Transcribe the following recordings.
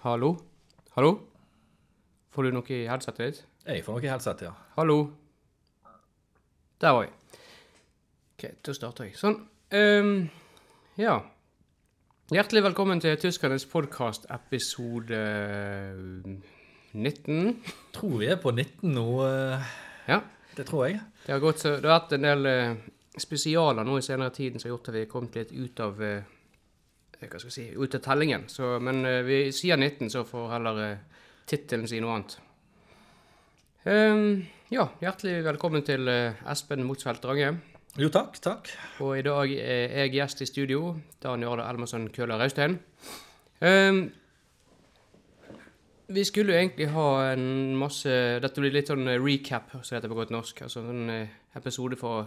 Hallo? Hallo? Får du noe i headsetet ditt? Jeg får noe i headset, ja. Hallo. Der var vi. Ok, da starter jeg. Sånn. Ehm, ja. Hjertelig velkommen til Tyskernes podcast episode eh, 19. Tror vi er på 19 nå. eh, Ja, Det tror jeg. det har, gått, så- det har vært en del eh, spesialer nå i senere tiden som har gjort at vi har kommet litt ut av, eh, hva skal jeg si, ut av tellingen. Så, men eh, vi sier 19, så får heller eh, tittelen si noe annet. Ehm, ja, hjertelig velkommen til eh, Espen Motsfeldt Drange. Jo, takk. Takk. Og i dag er jeg gjest i studio, Dan Jarle Elmersen Køhler Raustein. Ehm, vi skulle jo egentlig ha en masse Dette blir litt sånn eh, recap, som det heter på godt norsk. Altså en eh, episode for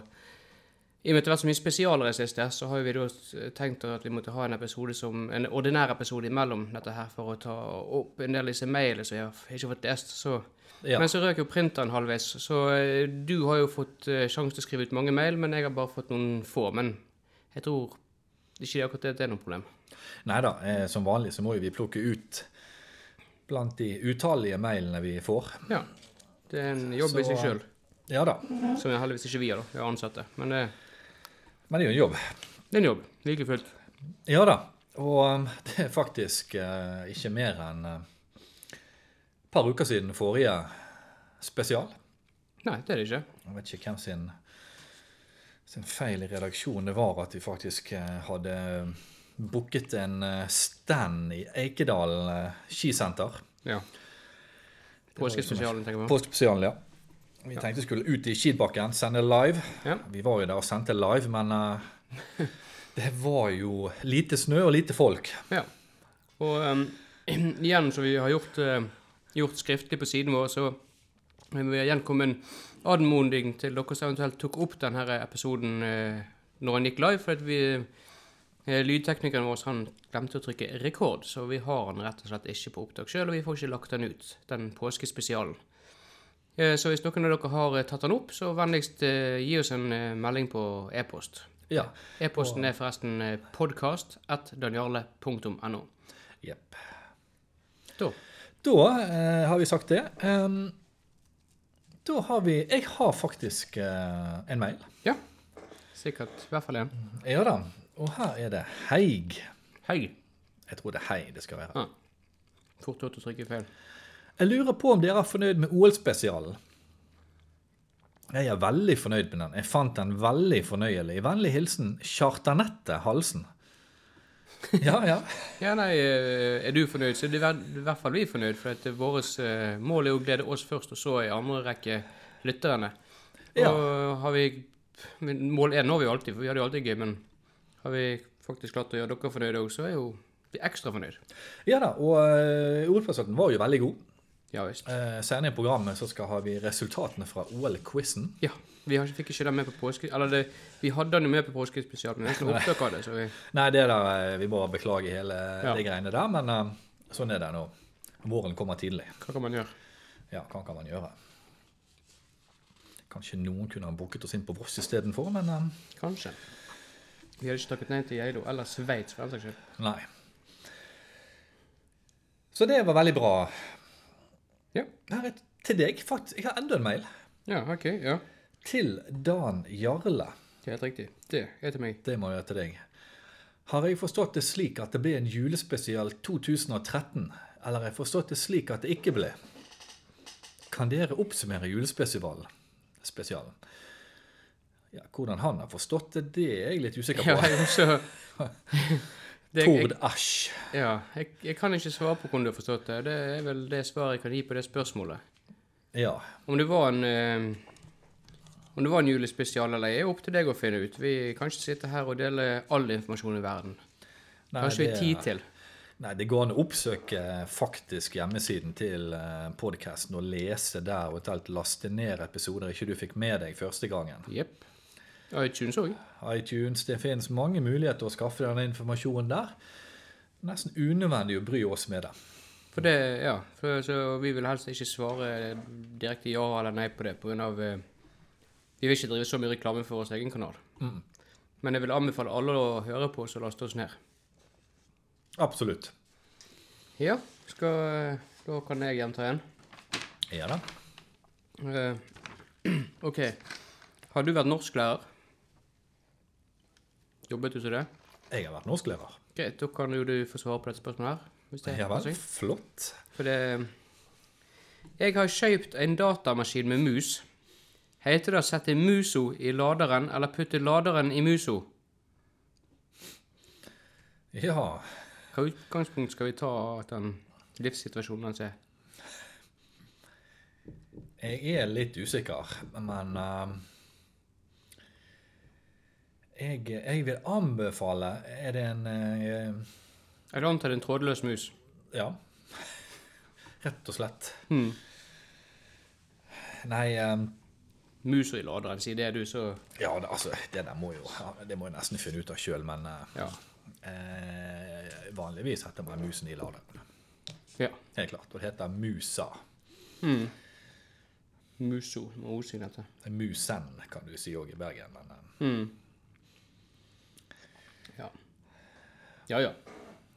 I og med at det har vært så mye spesialer i det siste, så har vi da s- tenkt at vi måtte ha en episode som En ordinær episode imellom dette her, for å ta opp en del av disse mailene som jeg har f- ikke fått lest. Så Ja. men så røk jo printeren halvveis, så eh, du har jo fått eh, sjanse til å skrive ut mange mail, men jeg har bare fått noen få. Men jeg tror ikke det akkurat det, det er noe problem. Nei da, eh, som vanlig så må jo vi plukke ut blant de utallige mailene vi får. Ja. Det er en jobb i Så, seg sjøl, Ja da. som jeg heldigvis ikke vi har, da. Vi er ansatte. Men det, Men det er jo en jobb. det er en jobb, like fullt. Ja da. Og eh, det er faktisk eh, ikke mer enn eh, et par uker siden forrige spesial. Nei, det er det ikke. Jeg vet ikke hvem sin, sin feil i redaksjonen det var at vi faktisk eh, hadde booket en eh, stand i Eikedal eh, skisenter. Ja. Påskespesialen, tenker jeg på. Påskespesialen, ja. Vi tenkte skulle ut i skibakken, sende live. Ja. Vi var jo der og sendte live, men eh, det var jo lite snø og lite folk. Ja. Og ehm, igjen, som vi har gjort, eh, gjort skriftlig på siden vår, så vil vi igjen komme en anmodning til dere som eventuelt tok opp denne episoden eh, når den gikk live. For at vi, eh, lydteknikeren vår han glemte å trykke rekord, så vi har den rett og slett ikke på opptak sjøl, og vi får ikke lagt den ut, den påskespesialen. Eh, Så hvis noen av dere har eh, tatt den opp, så vennligst eh, gi oss en eh, melding på e-post. Ja. E-posten er forresten eh, podkast.danjarle.no. Jepp. Da. Da eh, har vi sagt det. Ehm, da har vi Jeg har faktisk eh, en mail. Ja. Sikkert. I hvert fall én. Ja da. Og her er det Heig. Hei. Jeg tror det er hei det skal være. Ja. Fort gjort å trykke feil. Jeg lurer på om dere er fornøyd med OL-spesialen. Jeg er veldig fornøyd med den. Jeg fant den veldig fornøyelig. I vennlig hilsen Kjartanette Halsen. Ja, ja. Ja, nei, eh, er du fornøyd, så er det ver- i hvert fall vi fornøyd. For at vårt mål er jo å glede oss først, og så i andre rekke lytterne. Og har vi men Mål én når vi jo alltid, for vi har det jo alltid gøy, men har vi faktisk klart å gjøre dere fornøyde òg, så er jo vi ekstra fornøyd. ja da. Og eh, OL-spesialen var jo veldig god. Ja visst. Eh, Senere i programmet så skal har vi resultatene fra OL-quizen. Ja. Vi har, fikk ikke den med på påske... Eller det, vi hadde den jo med på påskespesial, men vi har ikke noe opptak av det, så vi Nei, det der, eh, vi må beklage hele Ja. de greiene der, men eh, sånn er det nå. Våren kommer tidlig. Hva kan man gjøre? Ja, hva kan man gjøre? Kanskje noen kunne ha booket oss inn på Voss istedenfor, men eh, Kanskje. Vi hadde ikke takket nei til Geilo eller Sveits. for den saks skyld. Nei. Så det var veldig bra. Ja. Her er til deg, faktisk. Jeg har enda en mail. ja, ok. ja. Til Dan Jarle. Det er helt riktig. Det er til meg. Det må jeg gjøre til deg. Har jeg forstått det slik at det ble en julespesial 2013? Eller har jeg forstått det slik at det ikke ble? Kan dere oppsummere julespesialen? Spesialen. Ja, hvordan han har forstått det, det er jeg litt usikker Ja, på. jeg også... Det, jeg, Tord Asch. ja, jeg, jeg kan ikke svare på hvordan du har forstått det. Det er vel det svaret jeg kan gi på det spørsmålet. Ja. Om det var en eh, om det var en julespesial eller ei, er opp til deg å finne ut. Vi kan ikke sitte her og dele all informasjon i verden. Nei, Kanskje vi det- har tid til. Nei, det går an å oppsøke faktisk hjemmesiden til podkasten og lese der, og eventuelt laste ned episoder ikke du fikk med deg første gangen. Jepp. iTunes òg. iTunes, det finnes mange muligheter å skaffe denne informasjonen der. Nesten unødvendig å bry oss med det. For det, ja, for, så vi vil helst ikke svare direkte ja eller nei på det, på grunn av eh, Vi vil ikke drive så mye reklame for vår egen kanal. Mm. Men jeg vil anbefale alle å høre på oss og laste oss ned. Absolutt. Ja, Skal, eh, da kan jeg gjenta en. Ja da. Eh, OK. Har du vært norsklærer? Jobbet du som det? Jeg har vært norsklærer. Greit, da kan jo du få svare på dette spørsmålet her. Hvis det Ja passer vel, seg. flott. For det Jeg har kjøpt en datamaskin med mus. Heter det å sette muso i laderen eller putte laderen i muso? Ja, Hva utgangspunkt skal vi ta av den livssituasjonen hans er? jeg er litt usikker, men ehm, eh, jeg, jeg vil anbefale Er det en eh, Jeg antar det er en trådløs mus. Ja. Rett og slett. Hmm. Nei eh, Muso i laderen, sier det du, så Ja, det, altså, det der må jo ja, Det må jeg nesten finne ut av sjøl, men eh, Ja. eh, Vanligvis heter man musen i laderen. ja. Helt klart. Og det heter musa. Muso med O i dette. Musen, kan du si òg i Bergen, men eh, Hmm. Ja. Ja ja.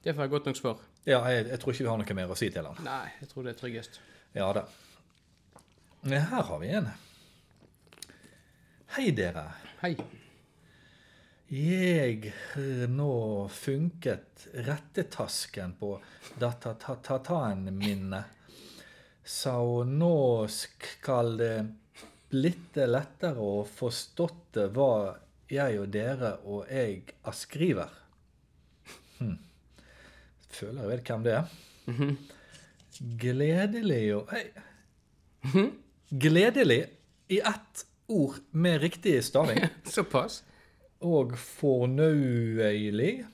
Det får jeg godt nok svar. Ja, jeg, jeg tror ikke vi har noe mer å si til den. Nei, jeg tror det er tryggest. Ja da. Ja, Her har vi en. Hei, dere. Hei. Jeg har nå funket rettetasken på datatataen mine, så nå skal det blitt lettere å forstått hva jeg og dere og jeg skriver. Hm. Føler jeg vet hvem det er. Gledelig og Hei. Gledelig i ett ord med riktig staving. Såpass? Og fornøyelig.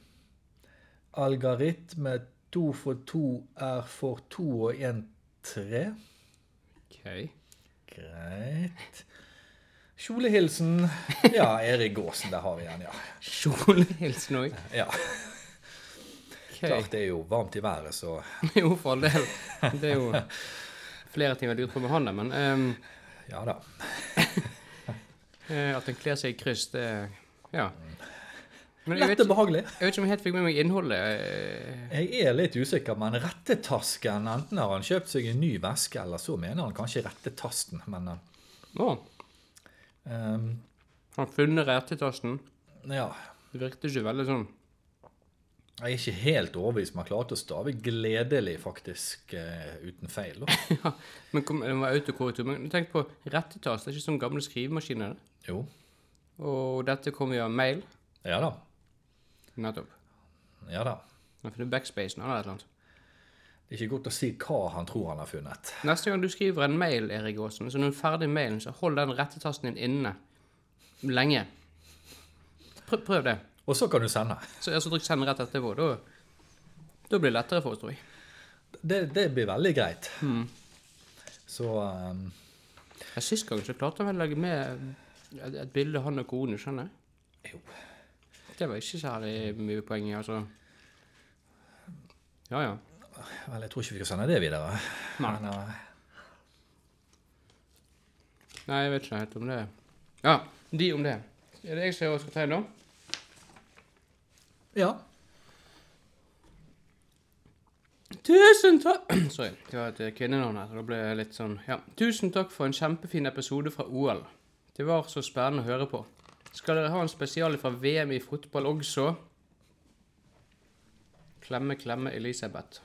Algaritme to for to er for to og en tre. OK. Greit. Kjolehilsen. Ja, Erik Gåsen, der har vi den, ja. Kjolehilsen òg. ja. Okay. Klart det er jo varmt i været, så jo, for all del. Det er jo flere ting jeg har lurt på med han der, men ehm, ja da. eh, at han kler seg i kryss, det Ja. Men jeg vet, Lett og behagelig. jeg vet ikke om jeg helt fikk med meg innholdet. eh, Jeg er litt usikker, men rettetasken Enten har han kjøpt seg en ny veske, eller så mener han kanskje rettetasten, men Å, ehm, han har funnet rettetasten. ja. Det virket ikke veldig sånn. Jeg er ikke helt overbevist, men jeg klarte å stave 'gledelig' faktisk eh, uten feil. da. ja, men kom, det var autokorrektur. Men tenk på rettetast. Det er ikke sånn gamle skrivemaskiner. Jo. Og dette kom via mail. Ja da. Nettopp. Ja da. Han har funnet backspacen eller et eller annet. Det er ikke godt å si hva han tror han har funnet. Neste gang du skriver en mail, Erik Aasen, så når du er ferdig med mailen, så hold den rettetasten din inne lenge. Prøv, prøv det. Og så kan du sende. Så altså, trykk send rett etterpå. Da, da blir det lettere for oss, tror jeg. Det, det blir veldig greit. Mm. Så ehm, Ja, Sist gang så klarte han vel å legge med et, et bilde han og kona, skjønner jeg. Jo. Det var ikke særlig mye poeng i, altså. Ja, ja. Vel, jeg tror ikke vi skal sende det videre. Nei. Men, eh, Nei, jeg vet ikke helt om det. Ja, de om det. Er det jeg som skal tegne, da? ja. Tusen takk Sorry. Det var et eh, kvinnenavn her. så Da ble jeg litt sånn Ja. Tusen takk for en kjempefin episode fra OL. Det var så spennende å høre på. Skal dere ha en spesial fra VM i fotball også? Klemme, klemme Elisabeth.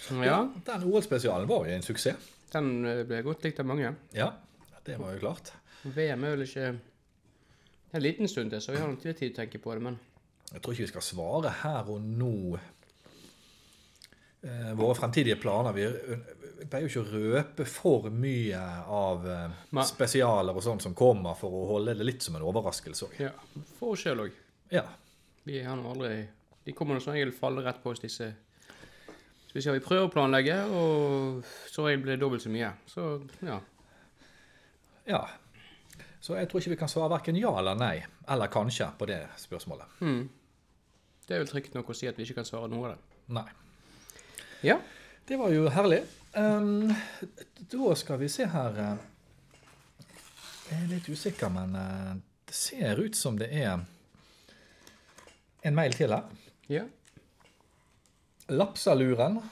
Sånn, Ja, Den OL-spesialen var jo en suksess. den eh, ble godt likt av mange. Ja. Det var jo klart. VM er vel ikke Det er en liten stund til, så vi har nok litt tid til å tenke på det, men Jeg tror ikke vi skal svare her og nå. Eh, våre fremtidige planer Vi vi pleier jo ikke å røpe for mye av eh, Nei. spesialer og sånn som kommer, for å holde det litt som en overraskelse òg. ja. For oss sjøl òg. Ja. Vi har nå aldri De kommer nå som regel falle rett på oss, disse. Så vi sier vi prøver å planlegge, og så regel blir det dobbelt så mye. Så ja. ja. Så jeg tror ikke vi kan svare verken ja eller nei, eller kanskje, på det spørsmålet. Hmm. Det er vel trygt nok å si at vi ikke kan svare noe av det. Nei. Ja. Det var jo herlig. Ehm, da skal vi se her eh, Jeg er litt usikker, men eh, det ser ut som det er en mail til her. ja. Lapsaluren.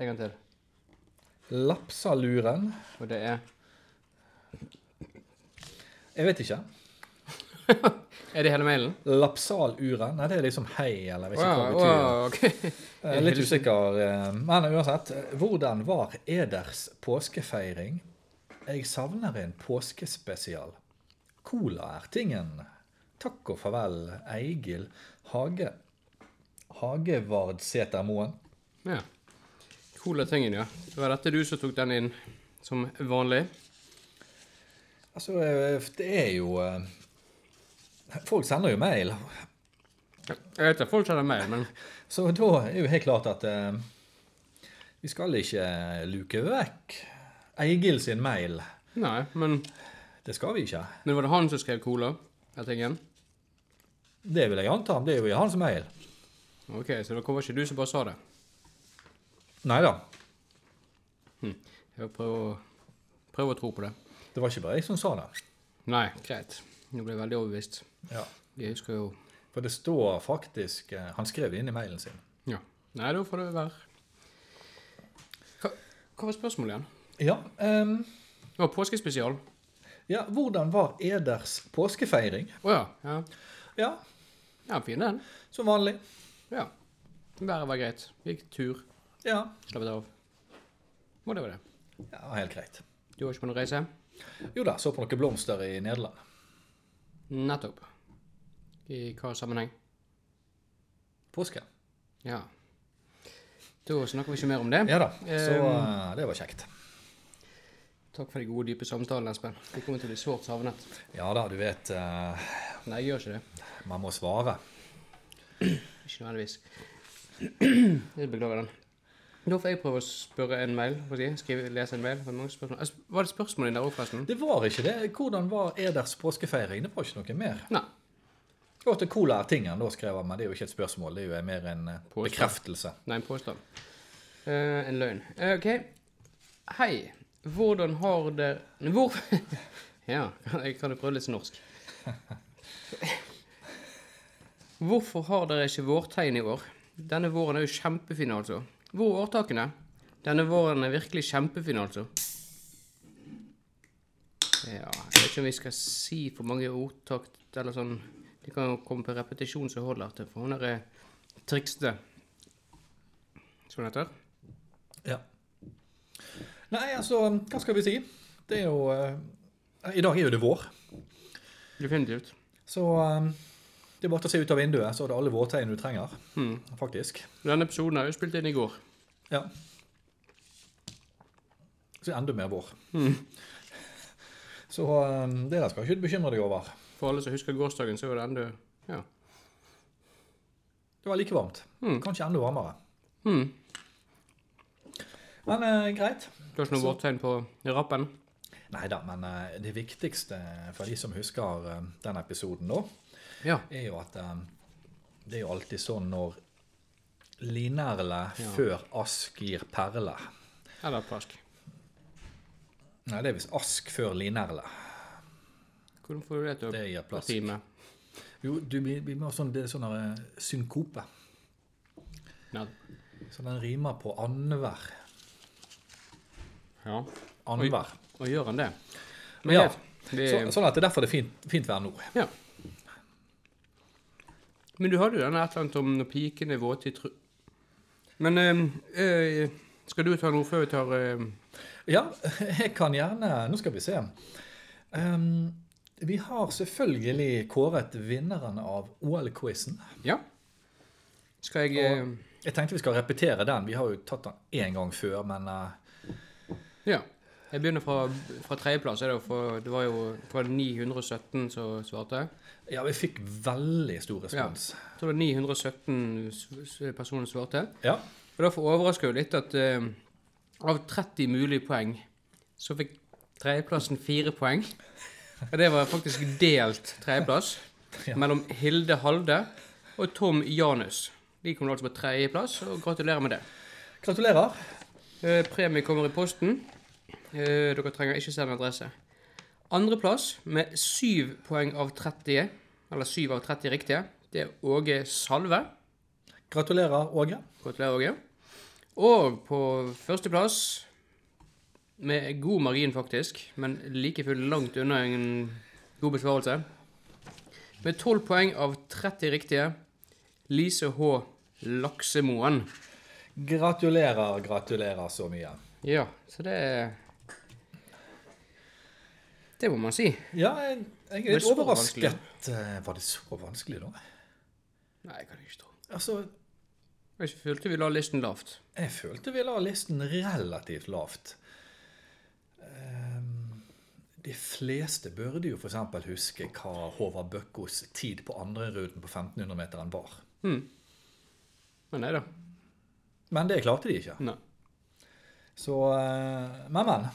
En gang til. Lapsaluren. Og det er Jeg vet ikke. Er det hele mailen? Lapsaluren? Nei, det er liksom hei, eller jeg vet ikke hva det Wow, betyr. wow, ok. Jeg er litt usikker, eh, men uansett. Hvordan var eders påskefeiring? Jeg savner en påskespesial. Cola er tingen. Takk og farvel, Eigil Hage. Hagevardsæter Moen. Ja. Cola tingen, ja. Det var dette du som tok den inn, som vanlig. Altså, eh, det er jo eh, Folk sender jo mail, Jeg vet at folk kjenner meg, men så da er jo helt klart at eh, vi skal ikke luke vekk Eigil sin mail. Nei, men, Det skal vi ikke. men var det han som skrev Cola? Den tingen? Det vil jeg anta. Det er jo i hans mail. Ok, så det var ikke du som bare sa det. Nei da. Jeg prøver å, prøver å tro på det. Det var ikke bare jeg som sa det. Nei, greit. Nå ble jeg veldig overbevist. Ja. Jeg husker jo For det står faktisk eh, Han skrev det inn i mailen sin. Ja. Nei, da får det være Hva, hva var spørsmålet igjen? Ja, ehm, Det var påskespesial. ja hvordan var eders påskefeiring? Å ja. ja. Ja, Ja, fin den. som vanlig. Ja. Været var greit. Gikk tur. Ja, Slappet av. Og det var det. ja helt greit. Du var ikke på noen reise? Jo da, så på noen blomster i Nederland. Nettopp. I hva sammenheng? Påske. Ja. Da snakker vi ikke mer om det. Ja da, så eh, det var kjekt. Takk for de gode, dype samtalene, Espen. Vi kommer til å bli sårt savnet. Ja da, du vet eh, Nei, jeg gjør ikke det. Man må svare. Ikke nødvendigvis. Jeg beklager den. Da får jeg prøve å spørre en mail. får jeg Si. Skrive, lese en mail. Det var mange spørsmål. Es- Var det spørsmål i der òg, forresten? Det var ikke det. Hvordan var eders påskefeiring? Det var ikke noe mer. Nei. Godt at cola er tingen, da skrev han, men det er jo ikke et spørsmål. Det er jo mer en eh, Påstand. bekreftelse. Nei, en påstand. Eh, en løgn. Eh, OK. Hei. Hvordan har dere Hvor Ja, jeg kan jo prøve litt norsk. Hvorfor har dere ikke vårtegn i år? Denne våren er jo kjempefin, altså. Hvor er årtakene? Denne våren er virkelig kjempefin, altså. Ja, jeg vet ikke om vi skal si for mange ordtak eller sånn. Det kan jo komme på repetisjon som holder til, for hun er trikste. Sånn heter det. Ja. Nei, altså, hva skal vi si? Det er jo eh, I dag er jo det vår, Definitivt. så eh, det er bare å se ut av vinduet, så er det alle vårtegn du trenger, faktisk. Denne episoden er jo spilt inn i går. Ja. Så enda mer vår. Så eh, det der skal ikke du bekymre deg over. For alle som husker gårsdagen, så var det enda Ja. Det var like varmt. Mm. Kanskje enda varmere. Hmm. Men eh, greit. Det var ikke noe vårtegn på rappen. Nei da, men eh, det viktigste for de som husker eh, den episoden, da, Ja. er jo at eh, det er jo alltid sånn når linerle før ask gir perle. Eller plask. Nei, det er visst ask før linerle. Hvordan får du det til Det gir å plass. rime? Jo, du, vi, vi må ha sånn, det er sånn eh, synkope. Nei. Så den rimer på annenhver. Ja. Annenhver. Og gjør han det? Ja. greit. Det, Så, sånn at det er derfor det er fint, fint vær nå. ja. Men du hadde jo denne et eller annet om når piken er våt i tru... Men eh, eh, skal du ta noe før vi tar eh, Ja, jeg kan gjerne Nå skal vi se. Ehm, vi har selvfølgelig kåret vinneren av OL-quizen. Ja? Skal jeg eh, Jeg tenkte vi skal repetere den. Vi har jo tatt den én gang før, men eh, Ja. Jeg begynner fra, fra tredjeplass. er det jo for- Det var jo det var 917 som svarte. Ja, vi fikk veldig stor respons. Jeg tror det var 917 s- s- personer som svarte. Ja. Og Derfor overrasker det jo litt at eh, av 30 mulige poeng, så fikk tredjeplassen fire poeng. Og det var faktisk delt tredjeplass Ja. mellom Hilde Halde og Tom Janus. De kom altså på tredjeplass, og gratulerer med det. Gratulerer. Eh, Premie kommer i posten. Eh, Dere trenger ikke sende adresse. Andreplass med 7 poeng av 30, eller 7 av 30 riktige, det er Åge Salve. Gratulerer, Åge. Gratulerer, Åge. Og på førsteplass, med god margin faktisk, men like fullt langt unna en god besvarelse, med 12 poeng av 30 riktige, Lise H. Laksemoen. Gratulerer, gratulerer så mye. Ja, så det Det må man si. Ja, jeg, jeg Var er det litt så overrasket. Eh, Var det så vanskelig, da? Nei, jeg kan ikke tro. Altså, Jeg følte vi la listen lavt. jeg følte vi la listen relativt lavt. Ehm, De fleste burde jo f.eks. huske hva Håvard Bøkkos tid på andreruten på 1500-meteren var. Mm. Men nei da. Men det klarte de ikke. Nei. Så eh, Men, men.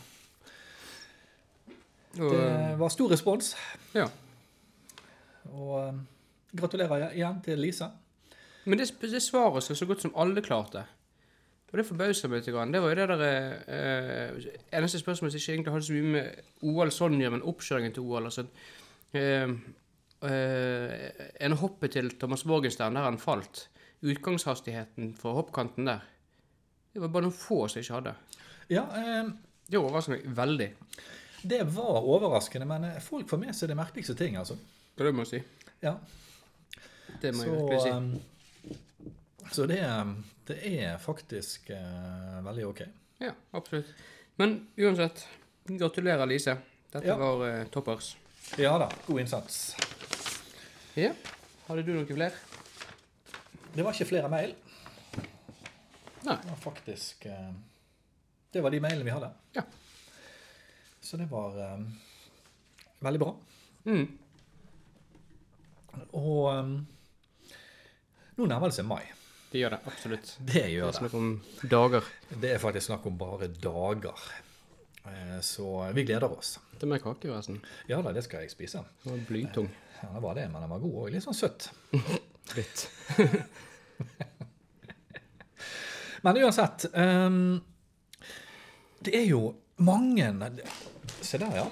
Og, Det var stor respons. ja. Og eh, gratulerer igjen til Lise. Men det, det svaret som så godt som alle klarte, og det forbauser meg litt, grann, det var jo det der eh, Eneste spørsmålet som ikke egentlig hadde så mye med OL sånn å gjøre, men oppkjøringen til OL. altså eh, eh, En hoppet til Thomas Borgenstern der han falt. Utgangshastigheten fra hoppkanten der. Det var bare noen få som ikke hadde. Ja, eh, Det overrasker meg veldig. det var overraskende, men eh, folk får med seg det merkeligste ting, altså. Det må jeg si. Ja, Det må jeg så, virkelig si. ehm, så det, ehm, det er faktisk eh, veldig ok. Ja, absolutt. Men uansett, gratulerer, Lise. Dette Ja. var eh, toppers. Ja da, god innsats. Ja. Hadde du noen flere? Det var ikke flere mail. Nei. Det var faktisk eh, Det var de mailene vi hadde. Ja. Så det var ehm, veldig bra. Mm. Og ehm, nå nærmer det seg mai. Det gjør det absolutt. Det gjør det. Snakk om dager. Det er faktisk snakk om bare dager. Eh, Så vi gleder oss. Det er mer kake, forresten. Ja da, det skal jeg spise. Den var blytung. Ja, det var det, men den var god og litt sånn søtt. Litt. Men uansett ehm, Det er jo mange Se der, ja.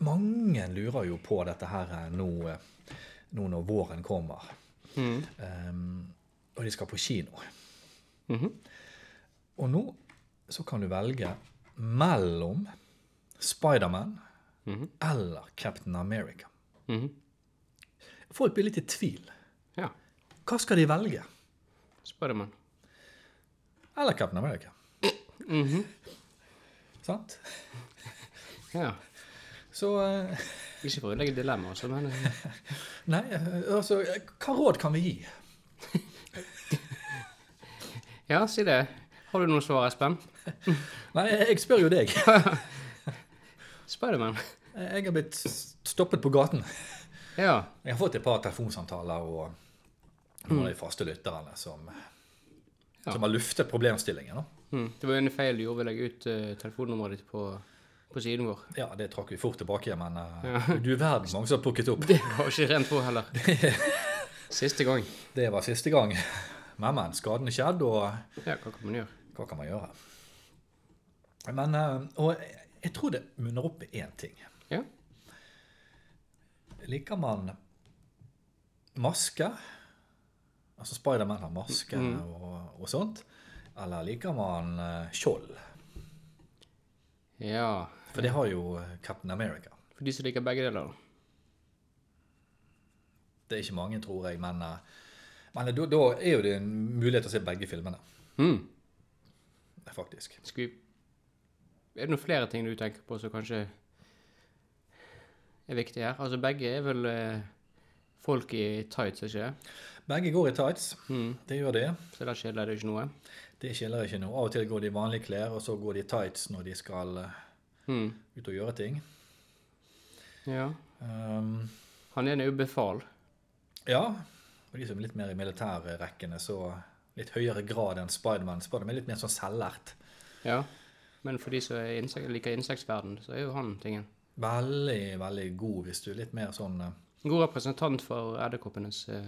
Mange lurer jo på dette her eh, nå, eh, nå når våren kommer. Mm. Ehm, og de skal på kino. Mhm. Og nå så kan du velge mellom Spiderman Mhm. eller Captain America. Mhm. Folk blir litt i tvil. Ja. Hva skal de velge? Spiderman. Eller Captain America? Mhm. Sant? Ja. Så eh, Ikke for å ødelegge dilemmaet, altså, men eh, Nei, eh, altså eh, Hva råd kan vi gi? Ja, si det. Har du noe svar, Espen? Nei, eh, jeg jeg spør jo deg. Eh, Spiderman. Jeg har blitt stoppet på gaten. Ja. Jeg har fått et par telefonsamtaler og noen av de faste lytterne som, Ja. som har luftet problemstillingen. Da. Mm. Det var jo en feil du gjorde ved å legge ut eh, telefonnummeret ditt på, på siden vår. Ja, det trakk vi fort tilbake igjen, men eh, du verden mange som har plukket opp. Det var ikke rent på heller. Siste gang. Det var siste gang. Men, men, skaden er skjedd, og eh, Ja, hva kan man gjøre? hva kan man gjøre? Men, eh, og jeg- jeg tror det munner opp i én ting. Ja. Liker man maske? Altså Spiderman har maske og, og sånt. Eller liker man eh, skjold? ja. For det har jo eh, Captain America. For de som liker begge deler. da. Det er ikke mange, tror jeg, men, eh, men da, da er jo det en mulighet til å se begge filmene, Mm. faktisk. Skal vi Er det noen flere ting du tenker på som kanskje er viktig her? Altså, begge er vel eh, folk i tights, ikke det? Begge går i tights. Mm. Det gjør det. Så der skiller det jo ikke noe. Det skiller ikke noe. Av og til går de i vanlige klær, og så går de i tights når de skal eh, Mm. ut og gjøre ting. Ja. Ehm, Han ene er jo befal. ja. Og de som er litt mer i militærrekkene, så litt høyere grad enn Spiderman. Spiderman er litt mer sånn selvlært. Ja. Men for de som er insek liker insektverden, så er jo han tingen. Veldig, veldig god hvis du er litt mer sånn eh, God representant for edderkoppenes eh,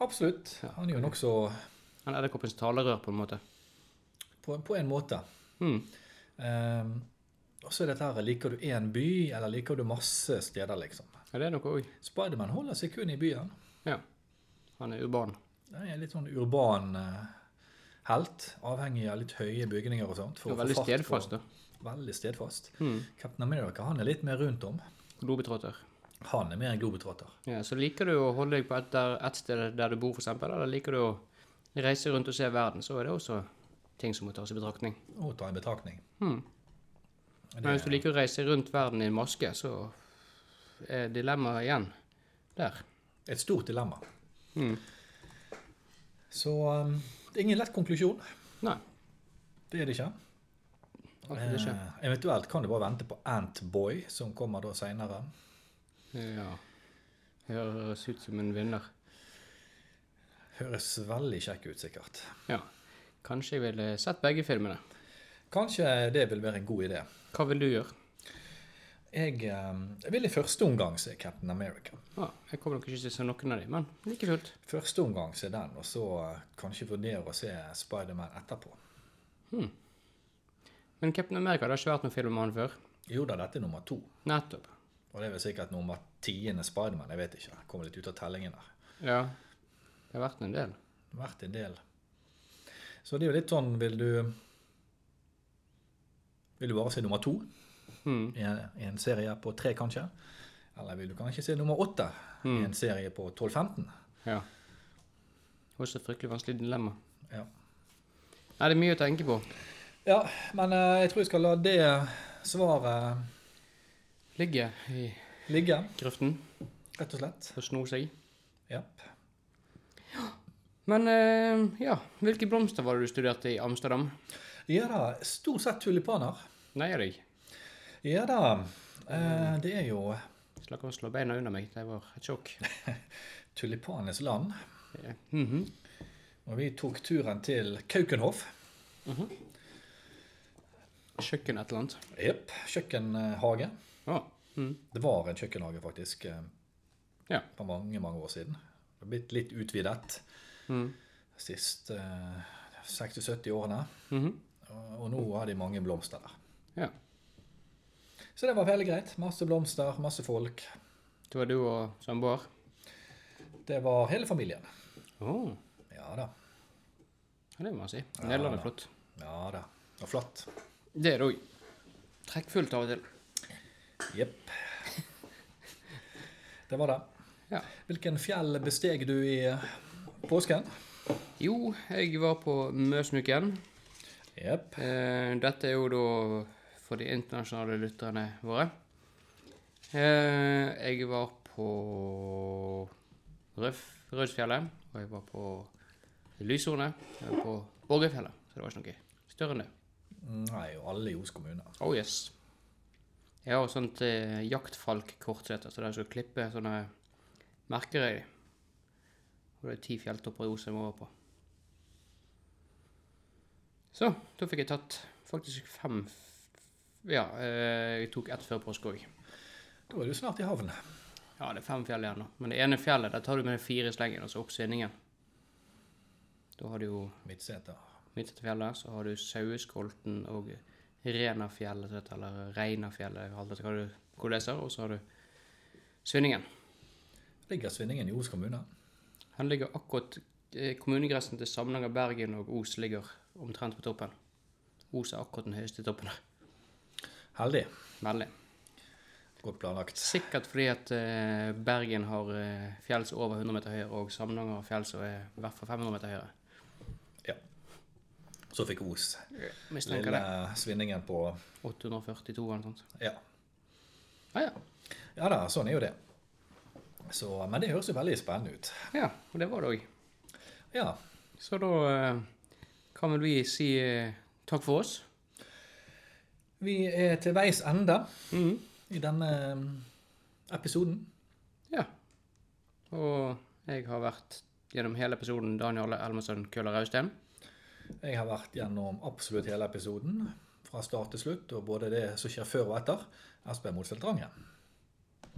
Absolutt. Han er jo nokså Han er edderkoppens talerør, på en måte. på, på en måte. Mm. Ehm, og så er dette her Liker du én by, eller liker du masse steder, liksom? Ja, det er noe òg. Spiderman holder seg kun i byen. Ja. Han er urban. Det er en litt sånn urban eh, helt, avhengig av litt høye bygninger og sånt. for Det er å få veldig fart på- stedfast, da. Veldig stedfast. Mm. Captain America han er litt mer rundt om. Globetrotter. Han er mer en globetrotter. Ja, så liker du å holde deg på et, der, et sted der du bor, f.eks., eller liker du å reise rundt og se verden, så er det også ting som må tas i betraktning. Og ta en betraktning. Hmm. Men hvis du liker å reise rundt verden i en maske, så er dilemmaet igjen der. Et stort dilemma. Mm. Så um, det er ingen lett konklusjon. Nei, Det er det ikke. absolutt ikke. Eh, eventuelt kan du bare vente på Antboy, som kommer da seinere. Ja. Høres ut som en vinner. Høres veldig kjekk ut, sikkert. Ja. Kanskje jeg ville sett begge filmene. Kanskje det vil være en god idé. Hva vil du gjøre? Jeg, um, jeg vil i første omgang se Captain America. Ja, jeg kommer nok ikke til å se noen av dem, men like fullt. Første omgang se den, og så eh, kanskje vurdere å se Spiderman etterpå. Men Captain America, det har ikke vært noen film om han før. Jo da, dette er nummer to. Nettopp. Og det er vel sikkert nummer tiende Spiderman. Jeg vet ikke. Jeg Kommer litt ut av tellingen der. Ja. Det har vært en del. Vært en del. Så det er jo litt sånn Vil du Vil du bare se nummer to Hmm. i en, i en serie på tre, kanskje? Eller vil du kanskje se nummer åtte i en serie på 12-15? Ja. Også et fryktelig vanskelig dilemma. Ja. Nei, det er mye å tenke på. ja, men eh, jeg tror jeg skal la det svaret Ligge i ligge, grøften rett og slett. og sno seg. Japp. Men eh, ja, hvilke blomster var det du studerte i Amsterdam? Ja da, stort sett tulipaner. Nei, jeg deg. Ja da. eh, det er jo Slapp av å slå beina under meg. Det var et sjokk. tulipanenes land. Eh, mhm. Og vi tok turen til Kaukenhoff. Kjøkken et eller annet. Jepp. Kjøkkenhage. Å. mhm. Det var en kjøkkenhage, faktisk, eh, Ja. for mange mange år siden. Det har blitt litt utvidet Mm. de siste eh, 60-70 årene. Mhm. Og og nå har de mange blomster der. Ja. Så det var veldig greit. Masse blomster, masse folk. Det var du og samboer. Det var hele familien. Å. Ja da. Ja, det må man si. Nederland er flott. Ja da. Og flott. Det er det òg. Trekkfullt av og til. Jepp. Det var det. Ja. Hvilken fjell besteg du i eh, påsken? Jo, jeg var på Møsnuken. Jepp. Eh, dette er jo da for de internasjonale lytterne våre. Eh, jeg var på Røf, Rødsfjellet, og jeg var på Lyshornet, jeg var på Borgefjellet, så det var ikke noe større enn det. Nei, og alle i Os kommune. Oh yes. Jeg har sånt eh, jaktfalkkort, så det heter, så det er så å klippe sånne merker i. Og det er ti fjelltopper i Os jeg må over på. Så, da fikk jeg tatt faktisk fem f- Ja, eh, jeg tok ett før påske òg. Da er du snart i havn. Ja, det er fem fjell igjen nå. Men det ene fjellet, der tar du med deg fire i slengen, altså opp svinningen. Da har du jo Midtseter. Midtsetterfjellet, så har du Saueskolten og Renafjellet, som det heter, eller Reinafjellet, alt etter hva du hvor du leser, og så har du Svinningen. Ligger Svinningen i Os kommune? Han ligger akkurat eh, Kommunegrensen til Samnanger, Bergen og Os ligger omtrent på toppen. Os er akkurat den høyeste toppen der. Heldig. Veldig. Godt planlagt. Sikkert fordi at eh, Bergen har eh, fjell som er over 100 meter høyere, og Samnanger har fjell som er i hvert fall 500 meter høyere. Ja. Så fikk Os Mistenker lille det. Svinningen på 842 eller noe sånt. Ah, ja. Ja, ja. ja da, sånn er jo det. Så, men det høres jo veldig spennende ut. ja. Og det var det òg. Ja. Så da eh, kan vel vi si eh, takk for oss. Vi er til veis ende i denne mm, episoden. Ja. Og jeg har vært gjennom hele episoden Daniel Elmesson Køller Austein. Jeg har vært gjennom absolutt hele episoden fra start til slutt, og både det som skjer før og etter. Espen Motfeldt Rangen.